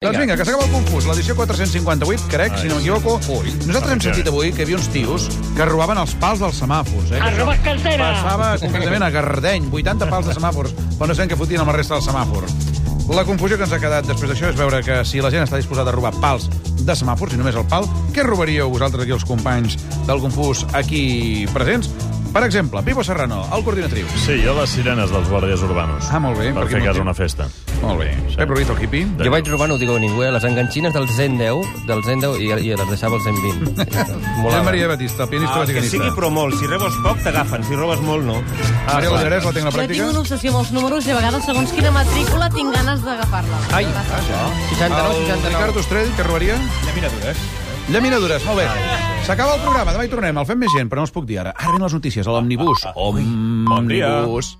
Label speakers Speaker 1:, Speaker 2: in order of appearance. Speaker 1: Doncs vinga, que s'acaba el confús. L'edició 458, crec, si no m'equivoco.
Speaker 2: Ui.
Speaker 1: Nosaltres hem sentit avui que hi havia uns tios que robaven els pals dels semàfors. Eh?
Speaker 3: A robar cartera.
Speaker 1: Passava concretament a Gardeny, 80 pals de semàfors, però no sabem què fotien amb la resta del semàfor. La confusió que ens ha quedat després d'això és veure que si la gent està disposada a robar pals de semàfors i només el pal, què robaríeu vosaltres aquí els companys del confús aquí presents? Per exemple, Pipo Serrano, el coordinatriu.
Speaker 2: Sí, jo les sirenes dels guàrdies urbanos.
Speaker 1: Ah, molt bé,
Speaker 2: Per
Speaker 1: per
Speaker 2: fer
Speaker 1: quin
Speaker 2: a casa
Speaker 1: motiu?
Speaker 2: una festa.
Speaker 1: Molt bé.
Speaker 2: Sí.
Speaker 1: Pep Ruiz, el hippie.
Speaker 2: De-
Speaker 4: Jo vaig robar, no ho dic a ningú, eh? les enganxines del 110, del 110 i, i les deixava al 120.
Speaker 1: Josep
Speaker 4: Molava.
Speaker 1: Maria Batista, pianista
Speaker 5: Ah, que
Speaker 1: vaticanista.
Speaker 5: sigui però molt. Si rebes poc, t'agafen. Si robes molt, no.
Speaker 1: Ah, Maria Lollarès, la tecna
Speaker 6: Jo tinc
Speaker 1: pràctica.
Speaker 6: una obsessió amb els números i a vegades, segons quina matrícula, tinc ganes d'agafar-la.
Speaker 4: Ai,
Speaker 5: Ah.
Speaker 4: 69,
Speaker 1: El Ricard
Speaker 4: 69.
Speaker 1: Ostrell, que robaria? Llaminadures, molt bé.
Speaker 5: Ah,
Speaker 1: S'acaba
Speaker 5: Ah,
Speaker 1: el programa, demà hi tornem. El fem més gent, però no us puc dir ara. Ara venen les notícies, a l'Omnibus. Omnibus.
Speaker 2: Bon dia.